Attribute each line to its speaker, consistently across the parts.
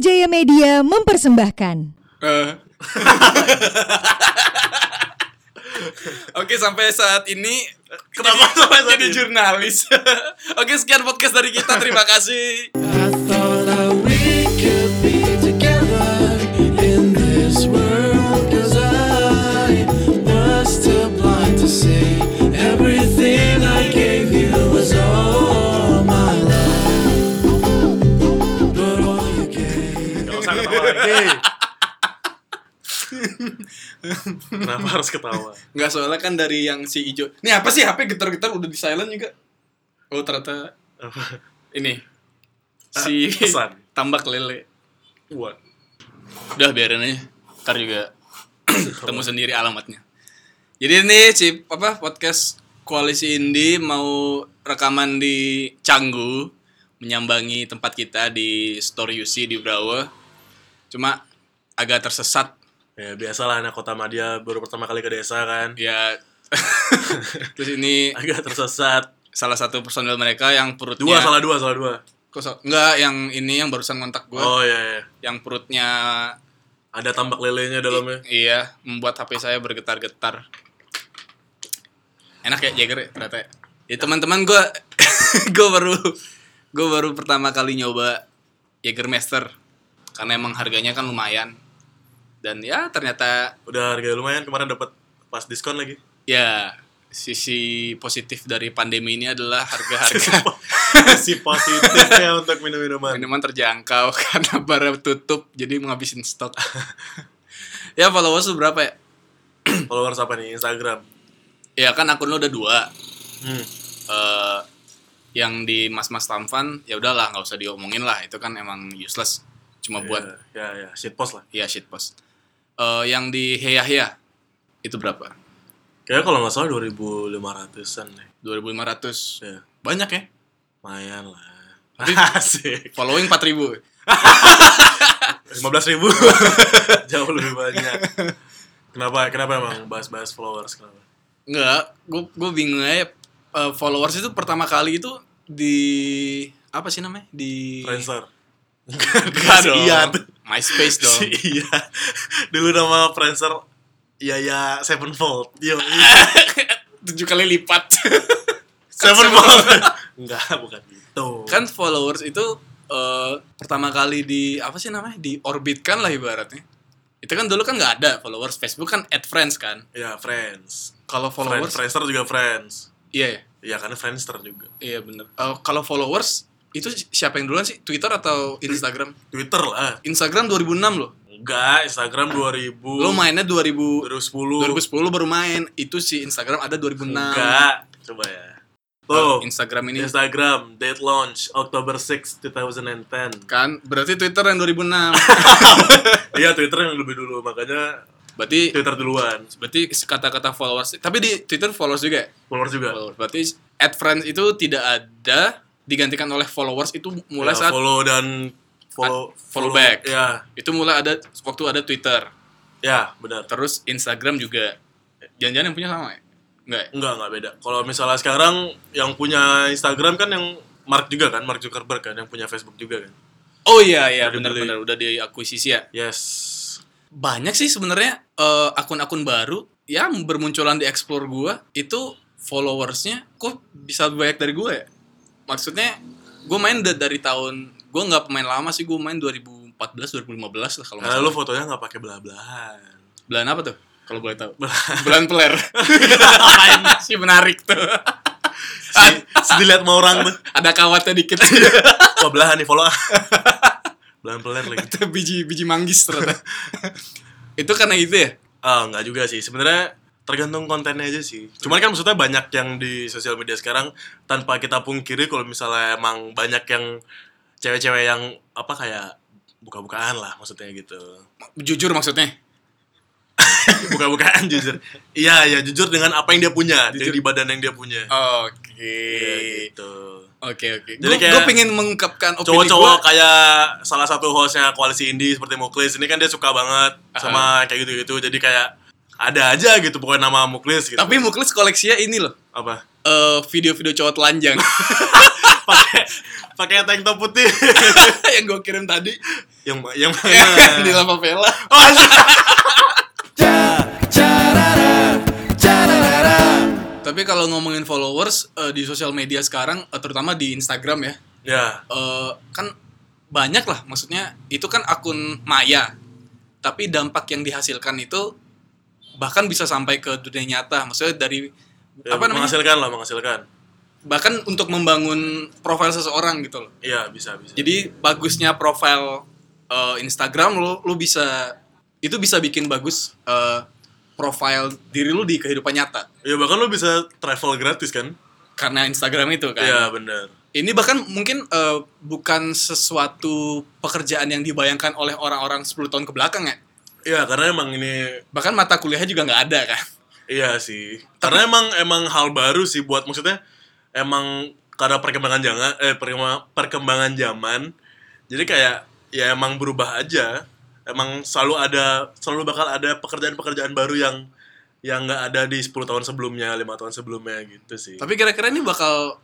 Speaker 1: Jaya Media mempersembahkan.
Speaker 2: Eh. Oke sampai saat ini kenapa sampai jadi jurnalis? Oke sekian podcast dari kita terima kasih.
Speaker 3: I thought I we could be together in this world, 'cause I was too blind to see everything I gave you was all my love, but all you gave.
Speaker 4: Gak usah ketawa lagi. Kenapa harus ketawa?
Speaker 2: Nggak soalnya kan dari yang si Ijo. Nih apa sih HP getar-getar udah di silent juga? Oh ternyata ini si
Speaker 4: pesan.
Speaker 2: tambak lele.
Speaker 4: What?
Speaker 2: Udah biarin aja. Ntar juga ketemu sendiri alamatnya. Jadi ini si apa podcast Koalisi Indi mau rekaman di Canggu menyambangi tempat kita di Store UC di Brawa. Cuma agak tersesat
Speaker 4: Ya biasalah anak kota Madia baru pertama kali ke desa kan.
Speaker 2: ya terus ini
Speaker 4: Agak tersesat.
Speaker 2: salah satu personil mereka yang perutnya
Speaker 4: Dua salah dua salah dua.
Speaker 2: Kok so- enggak yang ini yang barusan kontak gue
Speaker 4: Oh iya iya.
Speaker 2: yang perutnya
Speaker 4: Ada tambak lelenya dalamnya.
Speaker 2: iya membuat HP saya bergetar-getar enak ya Jagger ya, ternyata ya. Ya, teman-teman gue gue baru gue baru pertama kali nyoba Jager Master karena emang harganya kan lumayan dan ya ternyata
Speaker 4: Udah harga lumayan kemarin dapat pas diskon lagi.
Speaker 2: ya sisi positif dari pandemi ini adalah harga-harga
Speaker 4: Si positif ya untuk minum-minuman.
Speaker 2: minuman terjangkau karena bara tutup jadi menghabisin stok ya followers lu berapa ya
Speaker 4: Followers apa nih Instagram?
Speaker 2: ya kan akun lu udah dua
Speaker 4: Hmm.
Speaker 2: Eh, yang di mas mas tamfan ya udahlah nggak usah diomongin lah itu kan emang useless cuma buat
Speaker 4: ya ya shit post lah.
Speaker 2: ya shit post Eh, yang di heyahya itu berapa
Speaker 4: Kayaknya kalau nggak salah 2500-an deh.
Speaker 2: 2500
Speaker 4: Ya,
Speaker 2: banyak ya
Speaker 4: lumayan lah.
Speaker 2: Tapi-
Speaker 4: Asik.
Speaker 2: following 4000
Speaker 4: lima belas ribu jauh lebih banyak kenapa kenapa emang bahas-bahas followers kenapa
Speaker 2: Nggak, gue gue bingung aja Eh, followers itu pertama kali itu di apa sih namanya di
Speaker 4: Friendster
Speaker 2: Enggak
Speaker 4: Si
Speaker 2: dong.
Speaker 4: iya
Speaker 2: MySpace dong.
Speaker 4: Si iya dulu nama Friendster ya ya Sevenfold yo iya.
Speaker 2: Tujuh kali lipat.
Speaker 4: Sevenfold enggak bukan gitu
Speaker 2: kan followers itu eh, pertama kali di apa sih namanya? Diorbitkan lah ibaratnya. Itu kan dulu kan nggak ada followers Facebook kan add friends kan.
Speaker 4: ya Friends
Speaker 2: Kalau
Speaker 4: Friends
Speaker 2: followers
Speaker 4: Friendster juga Friends
Speaker 2: iya ya.
Speaker 4: ya karena Friendster juga
Speaker 2: Iya bener. Eh, kalau followers itu si- siapa yang duluan sih? Twitter atau Instagram?
Speaker 4: Twitter lah
Speaker 2: Instagram 2006 loh.
Speaker 4: enggak Instagram 2000
Speaker 2: Lo mainnya 2000
Speaker 4: 2010
Speaker 2: 2010 baru main. Itu si Instagram ada 2006.
Speaker 4: enggak coba ya
Speaker 2: Oh,
Speaker 4: tuh
Speaker 2: Instagram ini
Speaker 4: Instagram, date launch Oktober 6, 2010.
Speaker 2: kan berarti Twitter yang 2006.
Speaker 4: Iya, Twitter yang lebih dulu, makanya
Speaker 2: Berarti
Speaker 4: Twitter duluan.
Speaker 2: Berarti kata-kata followers Tapi di Twitter followers juga ya?
Speaker 4: Followers juga.
Speaker 2: Followers. Berarti ad friends itu tidak ada Digantikan oleh followers itu mulai
Speaker 4: Ya,
Speaker 2: saat
Speaker 4: follow dan
Speaker 2: Ad-
Speaker 4: follow,
Speaker 2: follow back.
Speaker 4: Ya,
Speaker 2: Itu mulai ada Waktu ada Twitter
Speaker 4: ya benar.
Speaker 2: Terus Instagram juga Jangan-jangan yang punya sama ya? Enggak ya?
Speaker 4: Enggak, enggak beda. Kalau misalnya sekarang yang punya Instagram kan yang Mark juga kan, Mark Zuckerberg kan yang punya Facebook juga kan.
Speaker 2: Oh iya iya
Speaker 4: Udah dibeli.
Speaker 2: benar-benar Udah diakuisisi ya
Speaker 4: Yes.
Speaker 2: Banyak sih sebenarnya eh, Akun-akun baru Yang bermunculan di explore gua Itu followersnya Kok bisa lebih banyak dari gua ya? Maksudnya Gue main da- dari tahun Gue nggak pemain lama sih Gue main 2014 2015 lah kalau nggak
Speaker 4: Karena
Speaker 2: salah.
Speaker 4: lu fotonya nggak pakai belah-belahan.
Speaker 2: Bulan apa tuh? Kalau boleh tahu. Bulan peler. Apaan sih menarik tuh. Ah,
Speaker 4: Si, si dilihat sama orang tuh.
Speaker 2: Ada kawatnya dikit.
Speaker 4: Wah, belahan nih follow. ah. belahan pelan lagi.
Speaker 2: Itu biji biji manggis ternyata. itu karena itu ya?
Speaker 4: Ah, nggak juga sih. Sebenarnya tergantung kontennya aja sih. Cuman kan maksudnya banyak yang di sosial media sekarang tanpa kita pungkiri kalau misalnya emang banyak yang cewek-cewek yang apa kayak buka-bukaan lah maksudnya gitu.
Speaker 2: Jujur maksudnya.
Speaker 4: Buka-bukaan jujur. Iya, ya jujur dengan apa yang dia punya,
Speaker 2: Jujur.
Speaker 4: di badan yang dia punya. Iya,
Speaker 2: Oke.
Speaker 4: gitu.
Speaker 2: Oke oke.
Speaker 4: Jadi
Speaker 2: Gue
Speaker 4: kayak-
Speaker 2: gue pengen mengungkapkan opini gua.
Speaker 4: Cowok-cowok kayak salah satu hostnya koalisi indie seperti Muklis ini kan dia suka banget sama kayak gitu-gitu. Jadi kayak ada aja gitu pokoknya nama Muklis gitu.
Speaker 2: Tapi Muklis koleksinya ini loh.
Speaker 4: apa?
Speaker 2: Eh, video-video cowok telanjang
Speaker 4: pakai pakai tank top putih Ya.
Speaker 2: yang gue kirim tadi
Speaker 4: yang yang
Speaker 2: di Lava Vela. Tapi kalau ngomongin followers eh, di sosial media sekarang, eh, terutama di Instagram ya,
Speaker 4: ya
Speaker 2: eh, kan banyak lah. Maksudnya itu kan akun maya, tapi dampak yang dihasilkan itu bahkan bisa sampai ke dunia nyata. Maksudnya dari
Speaker 4: Ya,
Speaker 2: apa namanya?
Speaker 4: menghasilkan lah menghasilkan
Speaker 2: Bahkan untuk membangun profil seseorang gitu loh.
Speaker 4: iya bisa bisa
Speaker 2: Jadi bagusnya profil eh, Instagram lo, lo bisa itu bisa bikin bagus eh, profil diri lu di kehidupan nyata
Speaker 4: ya bahkan lo bisa travel gratis kan
Speaker 2: karena Instagram itu kan.
Speaker 4: iya bener
Speaker 2: Ini bahkan mungkin eh, bukan sesuatu pekerjaan yang dibayangkan oleh orang-orang 10 tahun ke belakang ya.
Speaker 4: iya karena emang ini
Speaker 2: Bahkan mata kuliahnya juga nggak ada kan.
Speaker 4: Iya sih. Karena emang emang hal baru sih buat maksudnya emang karena perkembangan jangan eh perkembangan, perkembangan zaman. Jadi kayak ya emang berubah aja. Emang selalu ada selalu bakal ada pekerjaan-pekerjaan baru yang yang nggak ada di 10 tahun sebelumnya, lima tahun sebelumnya gitu sih.
Speaker 2: Tapi kira-kira ini bakal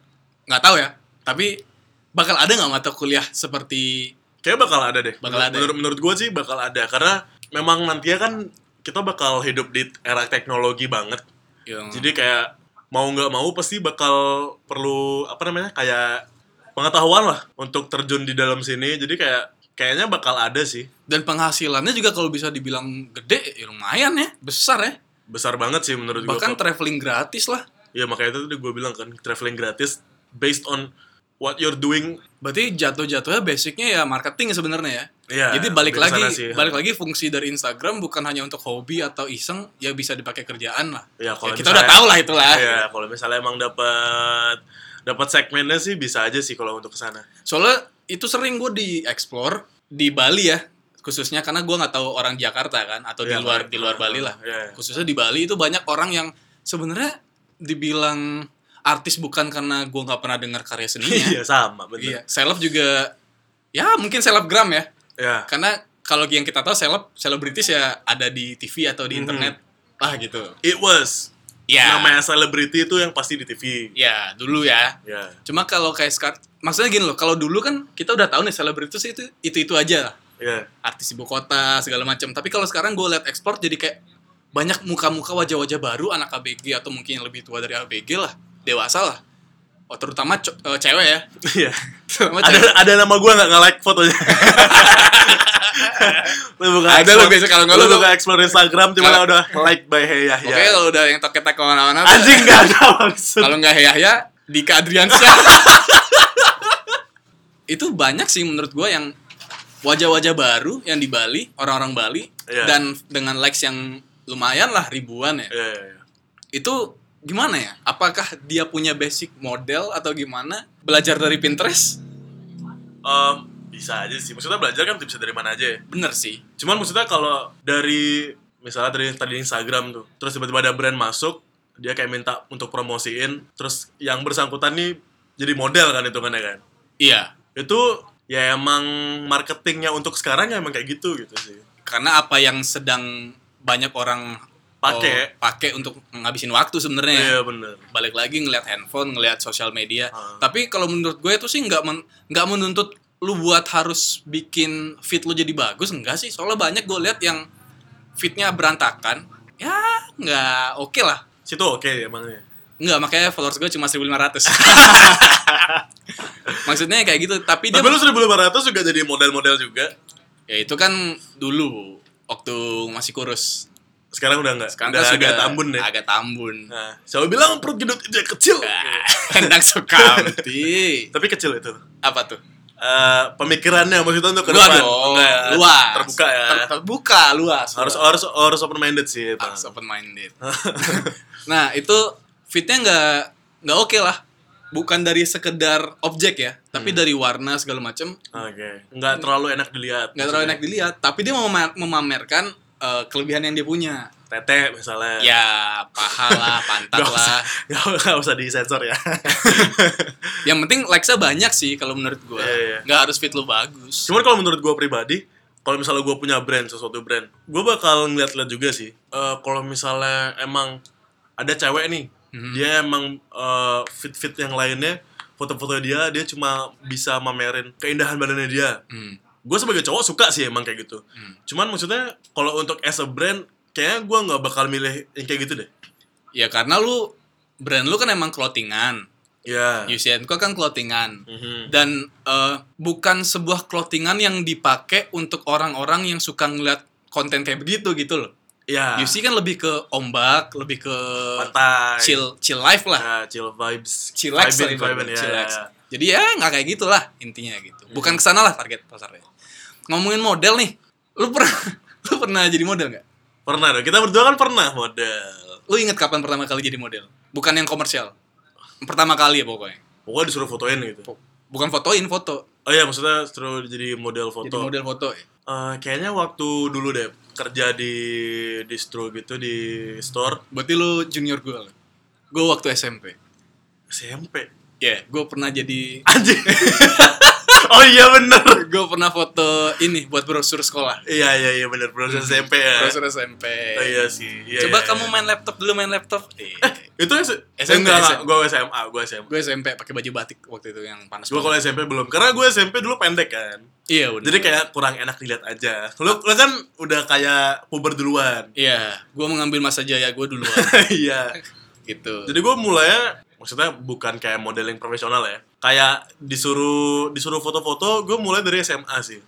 Speaker 2: nggak tahu ya. Tapi bakal ada nggak mata kuliah seperti
Speaker 4: Kayaknya bakal ada deh.
Speaker 2: Bakal ada ya?
Speaker 4: Menurut, menurut gue sih bakal ada karena memang nantinya kan kita bakal hidup di era teknologi banget.
Speaker 2: yang
Speaker 4: Jadi kayak mau nggak mau pasti bakal perlu apa namanya kayak pengetahuan lah untuk terjun di dalam sini. Jadi kayak kayaknya bakal ada sih
Speaker 2: dan penghasilannya juga kalau bisa dibilang gede ya lumayan ya besar ya
Speaker 4: besar banget sih menurut gue.
Speaker 2: bahkan traveling gratis lah
Speaker 4: ya makanya itu gue bilang kan traveling gratis based on what you're doing.
Speaker 2: berarti jatuh-jatuhnya basicnya ya marketing sebenarnya ya
Speaker 4: Iya,
Speaker 2: jadi balik
Speaker 4: lebih ke
Speaker 2: lagi
Speaker 4: sana sih.
Speaker 2: balik lagi fungsi dari Instagram bukan hanya untuk hobi atau iseng ya bisa dipakai kerjaan lah
Speaker 4: Ya, kalau
Speaker 2: kita
Speaker 4: misalnya-
Speaker 2: udah tahu lah itulah
Speaker 4: Ya kalau misalnya emang dapat dapat segmennya sih bisa aja sih kalau untuk kesana.
Speaker 2: soalnya itu sering gue di explore di Bali ya khususnya karena gue nggak tahu orang Jakarta kan atau di
Speaker 4: Iya,
Speaker 2: luar
Speaker 4: Bali.
Speaker 2: di luar Bali lah
Speaker 4: Iya, iya.
Speaker 2: khususnya di Bali itu banyak orang yang sebenarnya dibilang artis bukan karena gue nggak pernah dengar karya seninya
Speaker 4: Iya sama
Speaker 2: Iya,
Speaker 4: bener.
Speaker 2: seleb juga ya mungkin selebgram ya.
Speaker 4: Ya.
Speaker 2: Karena kalau yang kita tahu seleb selebritis ya ada di TV atau di
Speaker 4: Mhm.
Speaker 2: internet lah gitu.
Speaker 4: It was.
Speaker 2: Ya.
Speaker 4: Namanya selebriti itu yang pasti di TV.
Speaker 2: Ya, dulu ya.
Speaker 4: Ya.
Speaker 2: Cuma kalau kayak sekarang maksudnya gini loh, kalau dulu kan kita udah tahu nih selebritis itu itu-itu aja lah.
Speaker 4: Ya.
Speaker 2: Artis ibu kota segala macam. Tapi kalau sekarang gue lihat ekspor jadi kayak banyak muka-muka wajah-wajah baru anak ABG atau mungkin yang lebih tua dari ABG lah, dewasa lah. Oh, terutama co- eh, cewek ya.
Speaker 4: Iya.
Speaker 2: Terutama
Speaker 4: ada
Speaker 2: cewek.
Speaker 4: ada nama gue nggak like fotonya. lu
Speaker 2: Ada
Speaker 4: buka explore-
Speaker 2: lu biasa kalau nggak
Speaker 4: lu
Speaker 2: lu-
Speaker 4: buka explore Instagram cuma
Speaker 2: Kalau-
Speaker 4: udah like by Hey Yahya.
Speaker 2: Pokoknya kalau udah yang toket kemana-mana tuh-
Speaker 4: iya. Anjing nggak ada maksud.
Speaker 2: Kalau nggak Yahya, Dika Adriansyah. itu banyak sih menurut gue yang wajah-wajah baru yang di Bali, orang-orang Bali
Speaker 4: Iya.
Speaker 2: dan dengan likes yang lumayan lah ribuan ya.
Speaker 4: Iya, iya, iya.
Speaker 2: Itu gimana ya? Apakah dia punya basic model atau gimana? Belajar dari Pinterest?
Speaker 4: Em, bisa aja sih. Maksudnya belajar kan bisa dari mana aja. ya.
Speaker 2: Bener sih.
Speaker 4: Cuman maksudnya kalau dari misalnya dari tadi Instagram tuh, terus tiba-tiba ada brand masuk, dia kayak minta untuk promosiin, terus yang bersangkutan nih jadi model kan hitungannya kan.
Speaker 2: Iya.
Speaker 4: Itu ya emang marketingnya untuk sekarang ya emang kayak gitu gitu sih.
Speaker 2: Karena apa yang sedang banyak orang oh,
Speaker 4: Pakai.
Speaker 2: pakai untuk ngabisin waktu sebenarnya. ya.
Speaker 4: Iya bener.
Speaker 2: balik lagi ngelihat handphone, ngelihat sosial media.
Speaker 4: Ah.
Speaker 2: Tapi kalau menurut gue itu sih nggak men- nggak menuntut lu buat harus bikin fit lu jadi bagus enggak sih? Soalnya banyak gue lihat yang fitnya berantakan. Ya nggak oke lah.
Speaker 4: Situ oke emangnya.
Speaker 2: Nggak makanya followers gue cuma 1500. Maksudnya kayak gitu, tapi dia
Speaker 4: Tapi lu 1500 juga jadi model-model juga.
Speaker 2: ya itu kan dulu waktu masih kurus.
Speaker 4: Sekarang udah enggak.
Speaker 2: Sekarang
Speaker 4: udah
Speaker 2: kan
Speaker 4: agak
Speaker 2: sudah
Speaker 4: tambun ya.
Speaker 2: Agak tambun.
Speaker 4: Nah, siapa bilang perut gendut itu ya kecil?
Speaker 2: Nah. Hendak sekamti.
Speaker 4: Tapi kecil itu.
Speaker 2: Apa tuh?
Speaker 4: Eh, pemikirannya maksudnya untuk ke
Speaker 2: Enggak
Speaker 4: depan.
Speaker 2: dong,
Speaker 4: Enggak ya.
Speaker 2: luas.
Speaker 4: Terbuka ya.
Speaker 2: Ter- terbuka, luas.
Speaker 4: harus
Speaker 2: luas.
Speaker 4: harus harus open minded sih. Bang.
Speaker 2: Harus open minded. nah, itu fitnya nggak nggak oke lah. Bukan dari sekedar objek ya,
Speaker 4: Hmm.
Speaker 2: tapi dari warna segala macam
Speaker 4: Oke. Enggak terlalu enak dilihat.
Speaker 2: nggak terlalu enak dilihat, tapi dia mema- memamerkan eh, kelebihan yang dia punya.
Speaker 4: Tete misalnya.
Speaker 2: Ya, paha lah, pantat
Speaker 4: Gak
Speaker 2: lah.
Speaker 4: usah, gak, gak usah disensor ya.
Speaker 2: Yang penting likes-nya banyak sih kalau menurut gua.
Speaker 4: Iya, iya.
Speaker 2: Nggak harus fit lu bagus.
Speaker 4: Cuman kalau menurut gue pribadi, kalau misalnya gue punya brand sesuatu brand, gue bakal ngeliat-liat juga sih. Eh, kalau misalnya emang ada cewek nih,
Speaker 2: Mhm.
Speaker 4: dia emang eh, fit-fit yang lainnya, foto-foto dia, dia cuma bisa mamerin keindahan badannya dia.
Speaker 2: Hmm.
Speaker 4: gue sebagai cowok suka sih emang kayak gitu cuman maksudnya kalau untuk as a brand kayaknya gue nggak bakal milih yang kayak gitu deh
Speaker 2: Ya karena lu brand lu kan emang clothingan.
Speaker 4: ya
Speaker 2: UCN kok kan clothingan.
Speaker 4: Mhm.
Speaker 2: Dan eh, bukan sebuah clothingan yang dipakai untuk orang-orang yang suka ngeliat konten kayak begitu gitu loh.
Speaker 4: ya
Speaker 2: UC kan lebih ke ombak, lebih ke uh,
Speaker 4: pantai
Speaker 2: chill chill life lah.
Speaker 4: Ya, chill vibes
Speaker 2: Chillax lah
Speaker 4: Vibin,
Speaker 2: ibaratnya,
Speaker 4: vibin, ya,
Speaker 2: chillax.
Speaker 4: ya, Mm-hmm. ya.
Speaker 2: Jadi ya nggak kayak gitulah intinya gitu. Bukan kesana lah target pasarnya. Ngomongin model nih, lu pernah lu pernah jadi model nggak?
Speaker 4: pernah dong kita berdua kan pernah model
Speaker 2: Lu inget kapan pertama kali jadi model? Bukan yang komersial. Pertama kali ya pokoknya.
Speaker 4: pokoknya disuruh fotoin gitu
Speaker 2: Bukan fotoin foto,
Speaker 4: oh iya maksudnya disuruh jadi model foto
Speaker 2: jadi model foto. ya.
Speaker 4: Eh, kayaknya waktu dulu deh kerja di distro gitu di store
Speaker 2: Berarti lu junior gue lah. Gue waktu SMP.
Speaker 4: SMP
Speaker 2: Ya, gue pernah jadi
Speaker 4: anjir oh iya bener
Speaker 2: gue pernah foto ini buat brosur sekolah.
Speaker 4: iya iya iya bener proses SMP ya
Speaker 2: Brosur SMP.
Speaker 4: oh, iya sih iya,
Speaker 2: Coba
Speaker 4: iya,
Speaker 2: kamu
Speaker 4: iya.
Speaker 2: main laptop dulu, main laptop. Eh,
Speaker 4: itu S-
Speaker 2: SMP,
Speaker 4: enggak
Speaker 2: SMP.
Speaker 4: enggak gue SMA gue SMA
Speaker 2: gue SMP pakai baju batik waktu itu yang panas.
Speaker 4: gue kalau
Speaker 2: banget.
Speaker 4: SMP belum karena gue SMP dulu pendek kan
Speaker 2: Iya, bener.
Speaker 4: jadi kayak kurang enak dilihat aja lu, lu kan udah kayak puber duluan
Speaker 2: Iya, gue mengambil masa jaya gue duluan
Speaker 4: iya
Speaker 2: gitu.
Speaker 4: Jadi gue mulainya maksudnya bukan kayak modeling profesional ya. Kayak disuruh disuruh foto-foto, gue mulai dari SMA sih.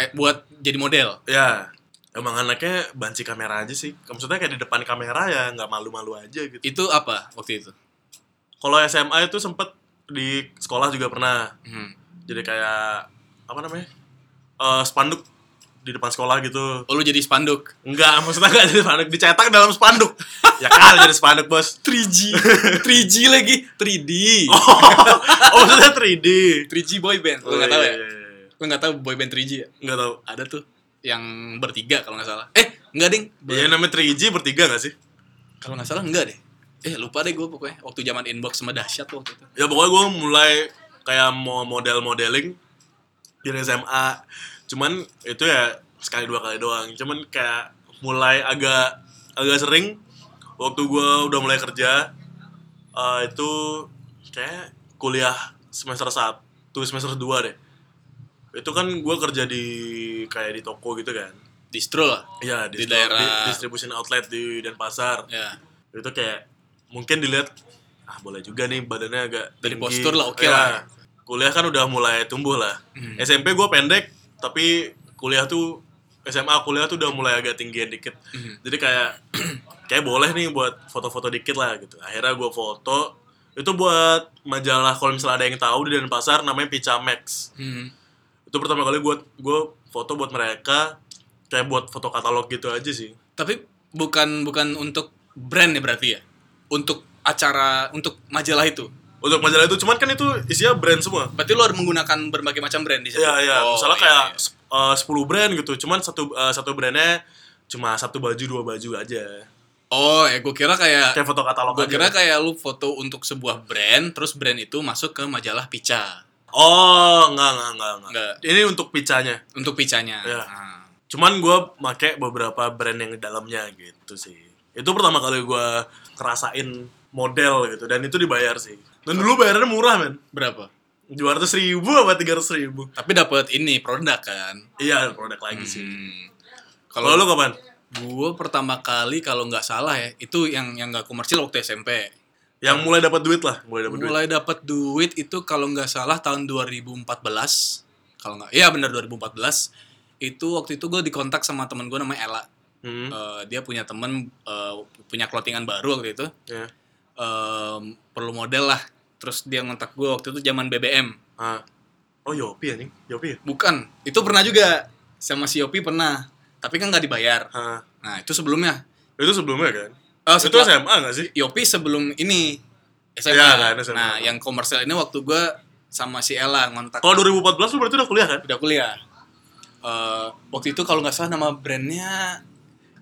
Speaker 2: eh, buat jadi model.
Speaker 4: Ya, emang anaknya banci kamera aja sih. Maksudnya kayak di depan kamera ya nggak malu-malu aja gitu.
Speaker 2: Itu apa waktu itu?
Speaker 4: Kalau SMA itu sempet di sekolah juga pernah.
Speaker 2: Hmm.
Speaker 4: Jadi kayak apa namanya? Eh spanduk di depan sekolah gitu.
Speaker 2: Oh, lu jadi spanduk.
Speaker 4: Enggak, maksudnya enggak jadi spanduk, dicetak dalam spanduk. ya kan jadi spanduk, Bos.
Speaker 2: 3G. 3G lagi, 3D.
Speaker 4: Oh, maksudnya 3D.
Speaker 2: 3G boy band. Lu
Speaker 4: Oh,
Speaker 2: enggak tahu
Speaker 4: iya,
Speaker 2: ya?
Speaker 4: iya, iya.
Speaker 2: Lu enggak tahu boy band 3G ya?
Speaker 4: Nggak tahu.
Speaker 2: Ada tuh yang bertiga kalau nggak salah. Eh, enggak ding.
Speaker 4: Iya namanya 3G bertiga gak sih?
Speaker 2: Kalau nggak salah enggak deh. Eh, lupa deh gue pokoknya. Waktu zaman inbox sama dahsyat tuh waktu itu.
Speaker 4: Ya pokoknya gue mulai kayak mau model-modeling dari SMA Cuman itu ya sekali dua kali doang Cuman kayak mulai agak agak sering Waktu gue udah mulai kerja eh, Itu kayak kuliah semester 1, semester 2 deh Itu kan gue kerja di kayak di toko gitu kan
Speaker 2: Distro lah.
Speaker 4: Iya
Speaker 2: Di
Speaker 4: di,
Speaker 2: daerah-
Speaker 4: distribution outlet di Denpasar
Speaker 2: Ya.
Speaker 4: itu kayak mungkin dilihat ah boleh juga nih badannya agak
Speaker 2: Dari
Speaker 4: tinggi.
Speaker 2: postur lah, oke
Speaker 4: Ya,
Speaker 2: lah. Hmm.
Speaker 4: kuliah kan udah mulai tumbuh lah SMP gue pendek tapi kuliah tuh SMA kuliah tuh udah mulai agak tinggian dikit
Speaker 2: Hmm.
Speaker 4: jadi kayak kayak boleh nih buat foto-foto dikit lah gitu akhirnya gue foto itu buat majalah kalau misalnya ada yang tahu di Denpasar namanya Picamax
Speaker 2: Hmm.
Speaker 4: itu pertama kali gue gue foto buat mereka kayak buat foto katalog gitu aja sih
Speaker 2: Tapi bukan bukan untuk brand ya berarti ya. Untuk acara untuk majalah itu.
Speaker 4: untuk majalah itu cuman kan itu isinya brand semua
Speaker 2: Berarti lu harus menggunakan berbagai macam brand di situ.
Speaker 4: Iya iya,
Speaker 2: Oh,
Speaker 4: misalnya
Speaker 2: iya,
Speaker 4: kayak
Speaker 2: iya.
Speaker 4: sep- eh, 10 brand gitu, cuman satu eh, satu brandnya cuma satu baju dua baju aja.
Speaker 2: Oh, ya gue kira kayak
Speaker 4: Kayak gitu. foto katalog
Speaker 2: gue
Speaker 4: aja.
Speaker 2: kira kayak lu foto untuk sebuah brand, terus brand itu masuk ke majalah Pica
Speaker 4: Oh, enggak enggak enggak enggak.
Speaker 2: Enggak.
Speaker 4: Ini untuk picanya.
Speaker 2: untuk Picanya.
Speaker 4: Iya.
Speaker 2: Nah.
Speaker 4: Cuman gua make beberapa brand yang di dalamnya gitu sih. Itu pertama kali gua ngerasain model gitu dan itu dibayar sih. Dan dulu bayarnya murah, men.
Speaker 2: Berapa?
Speaker 4: 200 ribu apa 300 ribu?
Speaker 2: Tapi dapat ini produk kan.
Speaker 4: Iya, ada produk lagi sih.
Speaker 2: Hmm.
Speaker 4: Kalau lu kapan?
Speaker 2: gue pertama kali kalau nggak salah ya itu yang yang nggak komersil waktu SMP
Speaker 4: Yang mulai dapat duit lah, mulai dapat duit.
Speaker 2: mulai dapat duit itu kalau nggak salah tahun 2014 kalau nggak iya benar 2014 itu waktu itu gue dikontak sama teman gue namanya Ella
Speaker 4: Hmm.
Speaker 2: Eh, dia punya temen eh, punya clothingan baru waktu itu
Speaker 4: Ya.
Speaker 2: Em, perlu model lah terus dia ngontak gue waktu itu zaman BBM
Speaker 4: Ah. Oh, Yopi anjing. Yopi ya?
Speaker 2: bukan itu pernah juga sama si Yopi pernah tapi kan nggak dibayar
Speaker 4: Ah.
Speaker 2: nah itu sebelumnya
Speaker 4: Itu sebelumnya kan?
Speaker 2: Eh,
Speaker 4: itu
Speaker 2: setelah-
Speaker 4: SMA gak sih?
Speaker 2: Yopi sebelum ini SMA.
Speaker 4: Iya, kan, SMA.
Speaker 2: Nah, yang komersial ini waktu gue sama si Ella ngontak
Speaker 4: Kalau 2014 lu berarti udah kuliah kan?
Speaker 2: udah kuliah. Eh, waktu itu kalau nggak salah nama brandnya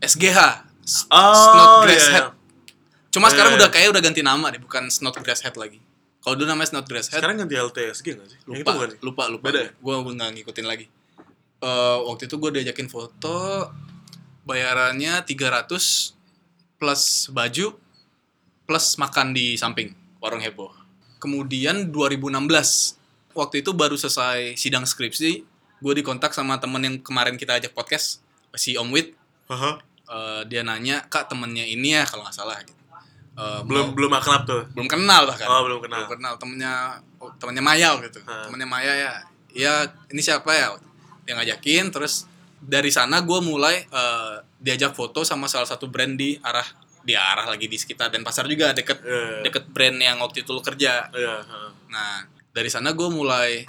Speaker 2: SGH. S-
Speaker 4: Oh,
Speaker 2: Snot
Speaker 4: iya,
Speaker 2: Grass
Speaker 4: iya.
Speaker 2: Head. Cuma
Speaker 4: Iya,
Speaker 2: sekarang
Speaker 4: iya.
Speaker 2: udah kayak udah ganti nama deh, bukan Snot Grass Head lagi. Kalau dulu namanya Snot Grass Head,
Speaker 4: Sekarang ganti LTSG gak sih? Yang itu
Speaker 2: lupa,
Speaker 4: bukan sih?
Speaker 2: lupa, lupa.
Speaker 4: Beda ya?
Speaker 2: Gue nggak ngikutin lagi. Eh, waktu itu gue diajakin foto, bayarannya 300 plus baju plus makan di samping warung heboh. Kemudian 2016 waktu itu baru selesai sidang skripsi, gue dikontak sama temen yang kemarin kita ajak podcast si Om Wid
Speaker 4: Haha.
Speaker 2: Eh, dia nanya kak temennya ini ya kalau nggak salah gitu. Eh,
Speaker 4: belum
Speaker 2: mau-
Speaker 4: belum akrab tuh
Speaker 2: belum kenal bahkan
Speaker 4: Oh, belum kenal.
Speaker 2: belum kenal temennya oh, temennya Maya gitu
Speaker 4: Ah.
Speaker 2: temennya Maya ya ya ini siapa ya dia ngajakin terus dari sana gue mulai eh, diajak foto sama salah satu brand di arah di arah lagi di sekitar dan pasar juga deket
Speaker 4: Iya.
Speaker 2: deket brand yang waktu itu lo kerja
Speaker 4: Iya, heeh.
Speaker 2: Nah, dari sana gue mulai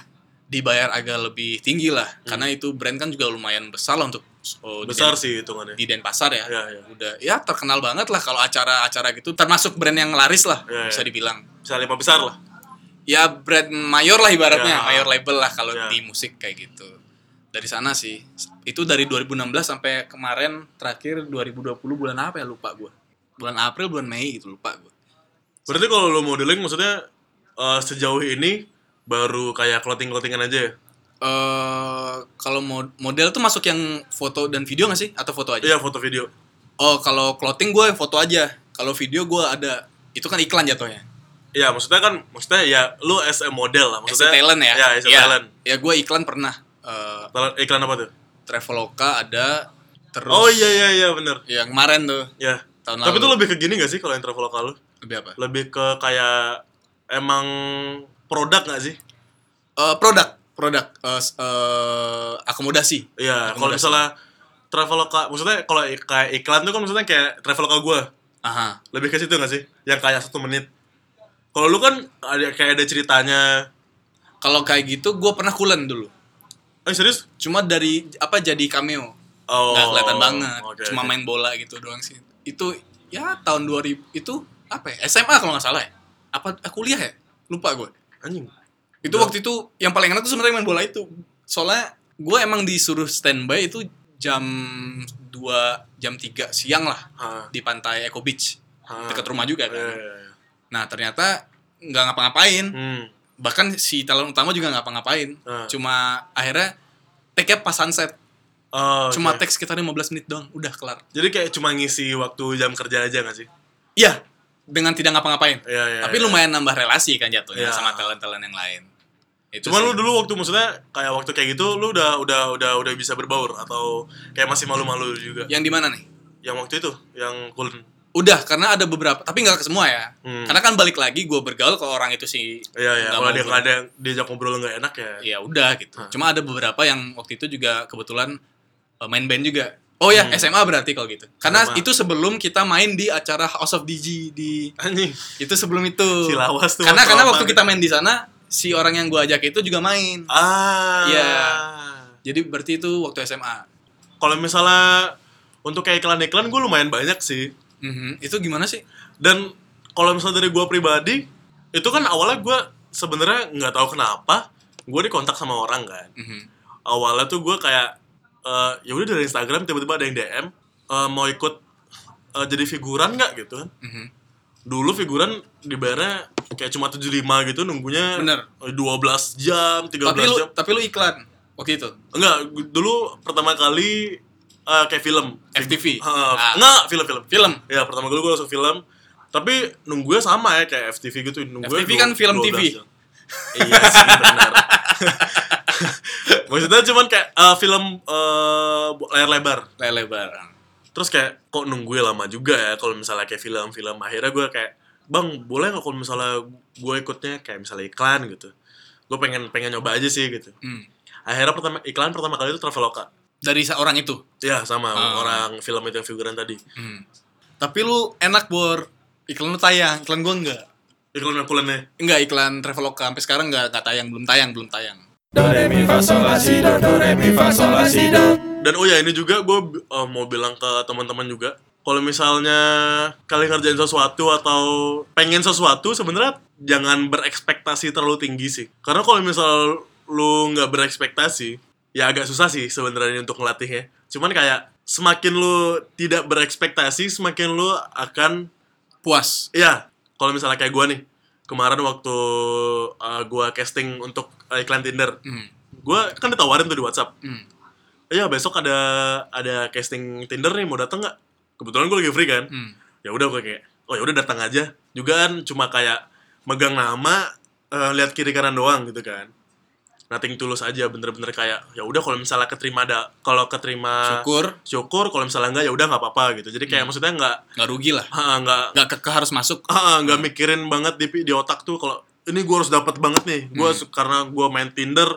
Speaker 2: dibayar agak lebih tinggi lah, karena itu brand kan juga lumayan besar lah untuk oh, di
Speaker 4: Hmm. besar
Speaker 2: Den-
Speaker 4: sih hitungannya
Speaker 2: di Denpasar ya.
Speaker 4: Iya, iya.
Speaker 2: Udah ya terkenal banget lah kalau acara-acara gitu, termasuk brand yang laris lah
Speaker 4: Iya,
Speaker 2: bisa
Speaker 4: iya.
Speaker 2: dibilang.
Speaker 4: bisa lima besar lah
Speaker 2: Ya brand mayor lah ibaratnya,
Speaker 4: Iya.
Speaker 2: mayor label lah kalau
Speaker 4: Iya.
Speaker 2: di musik kayak gitu. Dari sana sih. Itu dari 2016 sampai kemarin terakhir 2020 bulan apa ya lupa gue. Bulan April, bulan Mei gitu lupa gue.
Speaker 4: berarti kalau lo modeling maksudnya eh, sejauh ini baru kayak clothing clothingan aja ya
Speaker 2: eh kalau mod- model tuh masuk yang foto dan video gak sih atau foto aja?
Speaker 4: iya foto video
Speaker 2: Oh, kalau clothing gue yang foto aja. Kalau video gue ada itu kan iklan jatuhnya.
Speaker 4: Iya, maksudnya kan, maksudnya ya lu as a model lah,
Speaker 2: As
Speaker 4: maksudnya
Speaker 2: a talent ya.
Speaker 4: Iya, as a
Speaker 2: Iya.
Speaker 4: talent.
Speaker 2: Ya gue iklan pernah eh
Speaker 4: Talent- Iklan apa tuh?
Speaker 2: Traveloka ada terus
Speaker 4: Oh iya iya iya bener.
Speaker 2: yang kemarin tuh
Speaker 4: Ya.
Speaker 2: Tahun
Speaker 4: Tapi
Speaker 2: lalu.
Speaker 4: tuh lebih ke gini gak sih kalau yang traveloka lu?
Speaker 2: lebih apa?
Speaker 4: Lebih ke kayak emang produk gak sih?
Speaker 2: Eh, produk, produk eh s- eh, akomodasi.
Speaker 4: Iya, kalau
Speaker 2: Akomodasi.
Speaker 4: misalnya traveloka, maksudnya kalau i- kayak iklan tuh kan maksudnya kayak traveloka gua.
Speaker 2: Aha.
Speaker 4: Lebih ke situ gak sih? Yang kayak satu menit. Kalau lu kan ada kayak ada ceritanya.
Speaker 2: Kalau kayak gitu gue pernah kulen dulu.
Speaker 4: Eh serius?
Speaker 2: Cuma dari apa jadi cameo.
Speaker 4: Oh.
Speaker 2: nggak kelihatan banget
Speaker 4: oke,
Speaker 2: cuma
Speaker 4: oke.
Speaker 2: main bola gitu doang sih itu ya tahun 2000 itu apa ya SMA kalau nggak salah ya apa eh, kuliah ya lupa gue
Speaker 4: Anjing.
Speaker 2: itu
Speaker 4: Iya.
Speaker 2: waktu itu yang paling enak tuh sebenarnya main bola itu soalnya gue emang disuruh standby itu jam 2 jam 3 siang lah
Speaker 4: Ha.
Speaker 2: di pantai Eco Beach
Speaker 4: Ha.
Speaker 2: dekat rumah juga kan
Speaker 4: Iya, iya, iya.
Speaker 2: nah ternyata nggak ngapa-ngapain
Speaker 4: Hmm.
Speaker 2: bahkan si talent utama juga nggak ngapa-ngapain
Speaker 4: Ah.
Speaker 2: cuma akhirnya take up pas sunset
Speaker 4: Oh,
Speaker 2: cuma
Speaker 4: oke.
Speaker 2: take sekitar 15 menit doang udah kelar
Speaker 4: Jadi kayak cuma ngisi waktu jam kerja aja gak sih?
Speaker 2: Iya, dengan tidak ngapa-ngapain.
Speaker 4: Iya, iya,
Speaker 2: Tapi
Speaker 4: iya.
Speaker 2: lumayan nambah relasi kan jatuhnya
Speaker 4: Iya.
Speaker 2: sama talent-talent yang lain. Itu
Speaker 4: Cuman
Speaker 2: sih.
Speaker 4: lu dulu waktu maksudnya kayak waktu kayak gitu lu udah udah udah udah bisa berbaur atau kayak masih malu-malu juga.
Speaker 2: yang di mana nih?
Speaker 4: Yang waktu itu yang kulin.
Speaker 2: Udah, karena ada beberapa, tapi nggak ke semua ya.
Speaker 4: Hmm.
Speaker 2: Karena kan balik lagi gue bergaul ke orang itu sih.
Speaker 4: Iya iya,
Speaker 2: nggak
Speaker 4: kalau
Speaker 2: mau
Speaker 4: dia
Speaker 2: ber-
Speaker 4: kalau ada yang diajak ngobrol nggak enak ya.
Speaker 2: Ya udah gitu. Cuma ada beberapa yang waktu itu juga kebetulan eh, main band juga. Oh
Speaker 4: Hmm.
Speaker 2: ya, SMA berarti kalau gitu. Karena
Speaker 4: SMA.
Speaker 2: itu sebelum kita main di acara House of DG di
Speaker 4: Anjing.
Speaker 2: itu sebelum itu.
Speaker 4: Si lawas tuh
Speaker 2: Karena
Speaker 4: waktu
Speaker 2: karena
Speaker 4: apa
Speaker 2: waktu
Speaker 4: nih?
Speaker 2: kita main di sana si orang yang gue ajak itu juga main.
Speaker 4: Ah.
Speaker 2: Iya. Jadi berarti itu waktu SMA.
Speaker 4: Kalau misalnya untuk kayak iklan-iklan gue lumayan banyak sih.
Speaker 2: Mhm. Itu gimana sih?
Speaker 4: Dan kalau misalnya dari gue pribadi itu kan awalnya gue sebenarnya nggak tahu kenapa gue dikontak sama orang kan.
Speaker 2: Mhm.
Speaker 4: awalnya tuh gue kayak eh ya udah dari Instagram tiba-tiba ada yang DM eh, mau ikut eh, jadi figuran nggak gitu kan
Speaker 2: Mhm.
Speaker 4: dulu figuran dibayarnya kayak cuma 75 gitu nunggunya
Speaker 2: Bener.
Speaker 4: eh, 12 jam 13
Speaker 2: Tapi lu
Speaker 4: jam
Speaker 2: tapi lu iklan waktu itu.
Speaker 4: enggak gu- dulu pertama kali eh, kayak film
Speaker 2: FTV.
Speaker 4: Fi- eh,
Speaker 2: Ah.
Speaker 4: enggak film-film
Speaker 2: Film.
Speaker 4: ya pertama kali gue langsung film tapi nunggunya sama ya kayak FTV gitu nunggunya
Speaker 2: FTV
Speaker 4: dua-
Speaker 2: kan film
Speaker 4: 12
Speaker 2: TV.
Speaker 4: jam. iya sih benar maksudnya cuman kayak eh, film eh, bu- layar lebar
Speaker 2: Lebar.
Speaker 4: terus kayak kok nungguin lama juga ya kalau misalnya kayak film-film akhirnya gue kayak bang boleh nggak kalau misalnya gue ikutnya kayak misalnya iklan gitu gue pengen pengen nyoba aja sih gitu
Speaker 2: Hmm.
Speaker 4: akhirnya pertama iklan pertama kali itu traveloka
Speaker 2: Dari seorang itu.
Speaker 4: ya sama
Speaker 2: Ah.
Speaker 4: orang film itu yang figuran tadi
Speaker 2: Hmm. Tapi lu enak bor. Iklan lu tayang, iklan gua enggak.
Speaker 4: iklan yang kulennya
Speaker 2: Enggak iklan Traveloka sampai sekarang enggak enggak tayang, belum tayang, belum tayang.
Speaker 3: Do re mi fa sol la si do do re mi fa sol la si do.
Speaker 4: Dan oh ya ini juga gue mau bilang ke teman-teman juga kalau misalnya kalian ngerjain sesuatu atau pengen sesuatu sebenarnya jangan berekspektasi terlalu tinggi sih. Karena kalau misal lu nggak berekspektasi ya agak susah sih sebenarnya untuk ngelatihnya. Cuman kayak semakin lu tidak berekspektasi semakin lu akan
Speaker 2: Puas.
Speaker 4: ya kalau misalnya kayak gue nih kemarin waktu gue casting untuk eh, iklan Tinder
Speaker 2: Hmm.
Speaker 4: gue kan ditawarin tuh di WhatsApp
Speaker 2: Hmm.
Speaker 4: Iya besok ada ada casting Tinder nih mau datang nggak? Kebetulan gue lagi free kan.
Speaker 2: Hmm.
Speaker 4: Ya udah gue kayak oh ya udah datang aja. Juga kan cuma kayak megang nama eh, lihat kiri kanan doang gitu kan. nothing tulus aja bener-bener kayak ya udah kalau misalnya keterima ada kalau keterima
Speaker 2: syukur Hmm.
Speaker 4: syukur kalau misalnya enggak ya udah nggak apa-apa gitu jadi kayak maksudnya nggak
Speaker 2: nggak rugi lah
Speaker 4: ah, nggak
Speaker 2: nggak ke, ke- harus masuk
Speaker 4: ah, nggak mikirin banget di di otak tuh kalau ini gue harus dapat banget nih gue karena gue main Tinder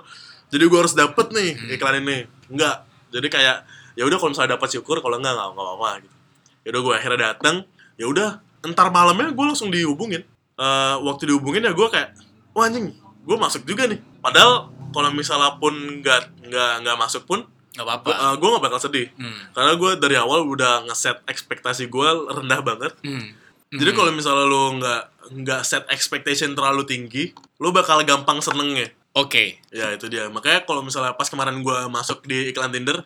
Speaker 4: jadi gue harus dapat nih iklan ini nggak jadi kayak ya udah kalau misalnya dapat syukur kalau nggak nggak nggak apa-apa gitu ya udah gue akhirnya datang ya udah entar malamnya gue langsung dihubungin Eh, waktu dihubungin ya gue kayak wah anjing gue masuk juga nih padahal kalau misalnya pun nggak nggak nggak masuk pun
Speaker 2: nggak apa-apa
Speaker 4: gue nggak bakal sedih
Speaker 2: Hmm.
Speaker 4: karena gue dari awal udah ngeset ekspektasi gue rendah banget
Speaker 2: Hmm.
Speaker 4: jadi kalau misalnya lo nggak nggak set expectation terlalu tinggi, lo bakal gampang senengnya.
Speaker 2: oke
Speaker 4: Ya itu dia. Makanya kalau misalnya pas kemarin gua masuk di iklan Tinder,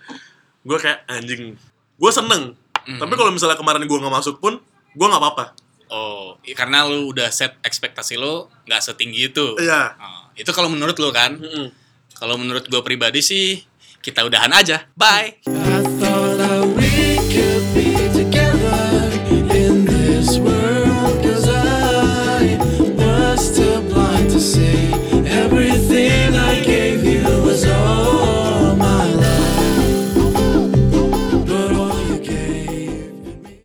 Speaker 4: gua kayak anjing. Gua seneng. Tapi kalau misalnya kemarin gua nggak masuk pun, gua nggak apa-apa.
Speaker 2: oh i- karena lu udah set ekspektasi lu nggak setinggi itu
Speaker 4: Iya.
Speaker 2: Oh, itu kalau menurut lu kan
Speaker 4: Mm-mm.
Speaker 2: kalau menurut gue pribadi sih kita udahan aja bye
Speaker 3: I thought